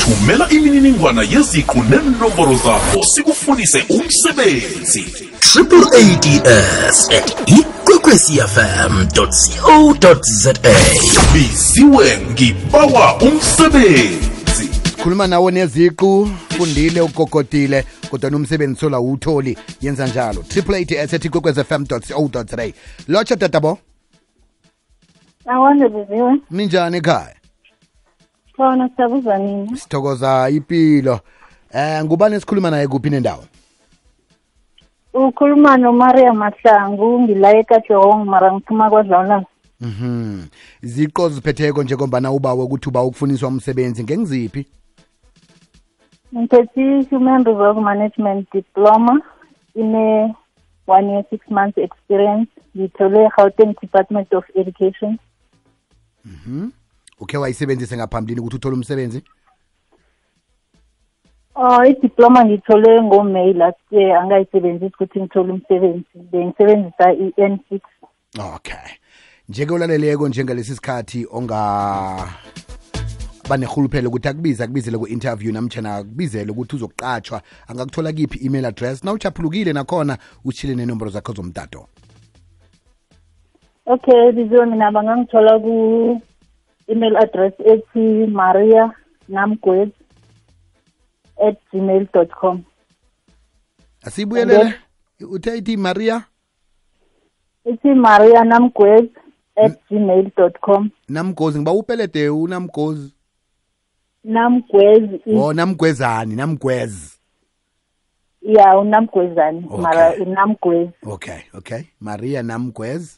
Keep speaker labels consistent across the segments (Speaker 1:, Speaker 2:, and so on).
Speaker 1: thumela imininingwana yeziqu nenomboro zakho sikufunise umsebenzi
Speaker 2: triple ads at ikwekwecfm co za
Speaker 1: biziwe ngibawa umsebenzi
Speaker 3: khuluma nawo neziqu fundile ugogodile kodwa umsebenzi sola uwutholi yenza njalo triple ads at ikwekwecfm co za lotsha tatabo
Speaker 4: Awande biziwe.
Speaker 3: ninjani ekhaya
Speaker 4: Khona sabuza nina.
Speaker 3: sithokoza impilo eh ngubani esikhuluma naye kuphi nendawo
Speaker 4: Ukhuluma noMaria Mahlangu ngilaye kaJohong mara ngiphuma kwaDlawula.
Speaker 3: Mhm. Iziqo ziphetheko njengombana ubawe ukuthi uba ukufuniswa umsebenzi ngengiziphi?
Speaker 4: Ngiphethe Human Resource Management Diploma ine 1 year 6 months experience ngithole Gauteng Department of Education.
Speaker 3: Ukhe wayisebenzise ngaphambilini ukuthi uthole umsebenzi?
Speaker 4: Oh, i-diploma ngithole ngoMay last year angayisebenzisi ukuthi ngithole umsebenzi. Bengisebenzisa i-N6.
Speaker 3: Okay. Njeke ulaleleko njengalesi sikhathi onga banehuluphelo ukuthi akubize akubizele ku-interview namtshana akubizele ukuthi uzokuqatshwa angakuthola kiphi email address na uchaphulukile nakhona utshile nenomboro zakho zomtato
Speaker 4: Okay, biziwe mina bangangithola ku email address ethi maria namgwez at gmail.com.
Speaker 3: asiyibuyelele uthe ithi maria
Speaker 4: Ithi maria namgwez at gmail.com.
Speaker 3: namgozi ngiba upelede unamgozi
Speaker 4: Namgwez is
Speaker 3: o Oh, namgwezani namgwezi
Speaker 4: yeah, unamgwezani
Speaker 3: Okay.
Speaker 4: mara unamgwez
Speaker 3: okay okay maria namgwez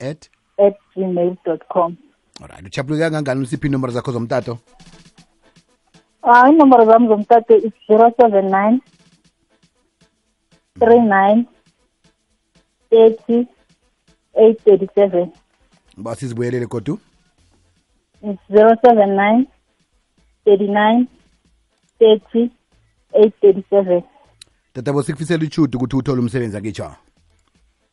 Speaker 3: at
Speaker 4: at gmail.com.
Speaker 3: olright uchaphuluke kangangani usiphi inomboro zakho zomtato
Speaker 4: Ah, inomboro zami zomtato is 079 39 30 837.
Speaker 3: ngiba sizibuyelele godu
Speaker 4: It's zero seven nine thirty nine thirty eight thirty seven.
Speaker 3: tatabo sikufisela ichudu ukuthi uthole umsebenzi akitsho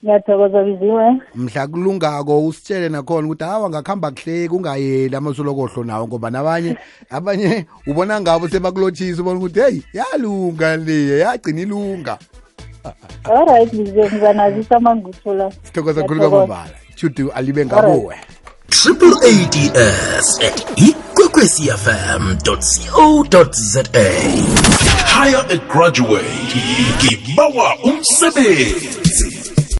Speaker 4: Ngiyathokoza biziwe.
Speaker 3: mhla kulungako usitshele nakhona ukuthi hawa ngakuhamba kuhleki ungayeli amasolokohlo nawo ngoba nabanye abanye ubona ngabo sebakulotshisa ubona ukuthi heyi yalunga le yagcina ilunga
Speaker 4: All right biziwe ngizanazisa amanguthola.
Speaker 3: sithokoza khulu kwamambala ichudu alibe ngakuwe
Speaker 2: triple ads at ikwekwecfm co za
Speaker 1: hire a graduate ngibawa umsebenzi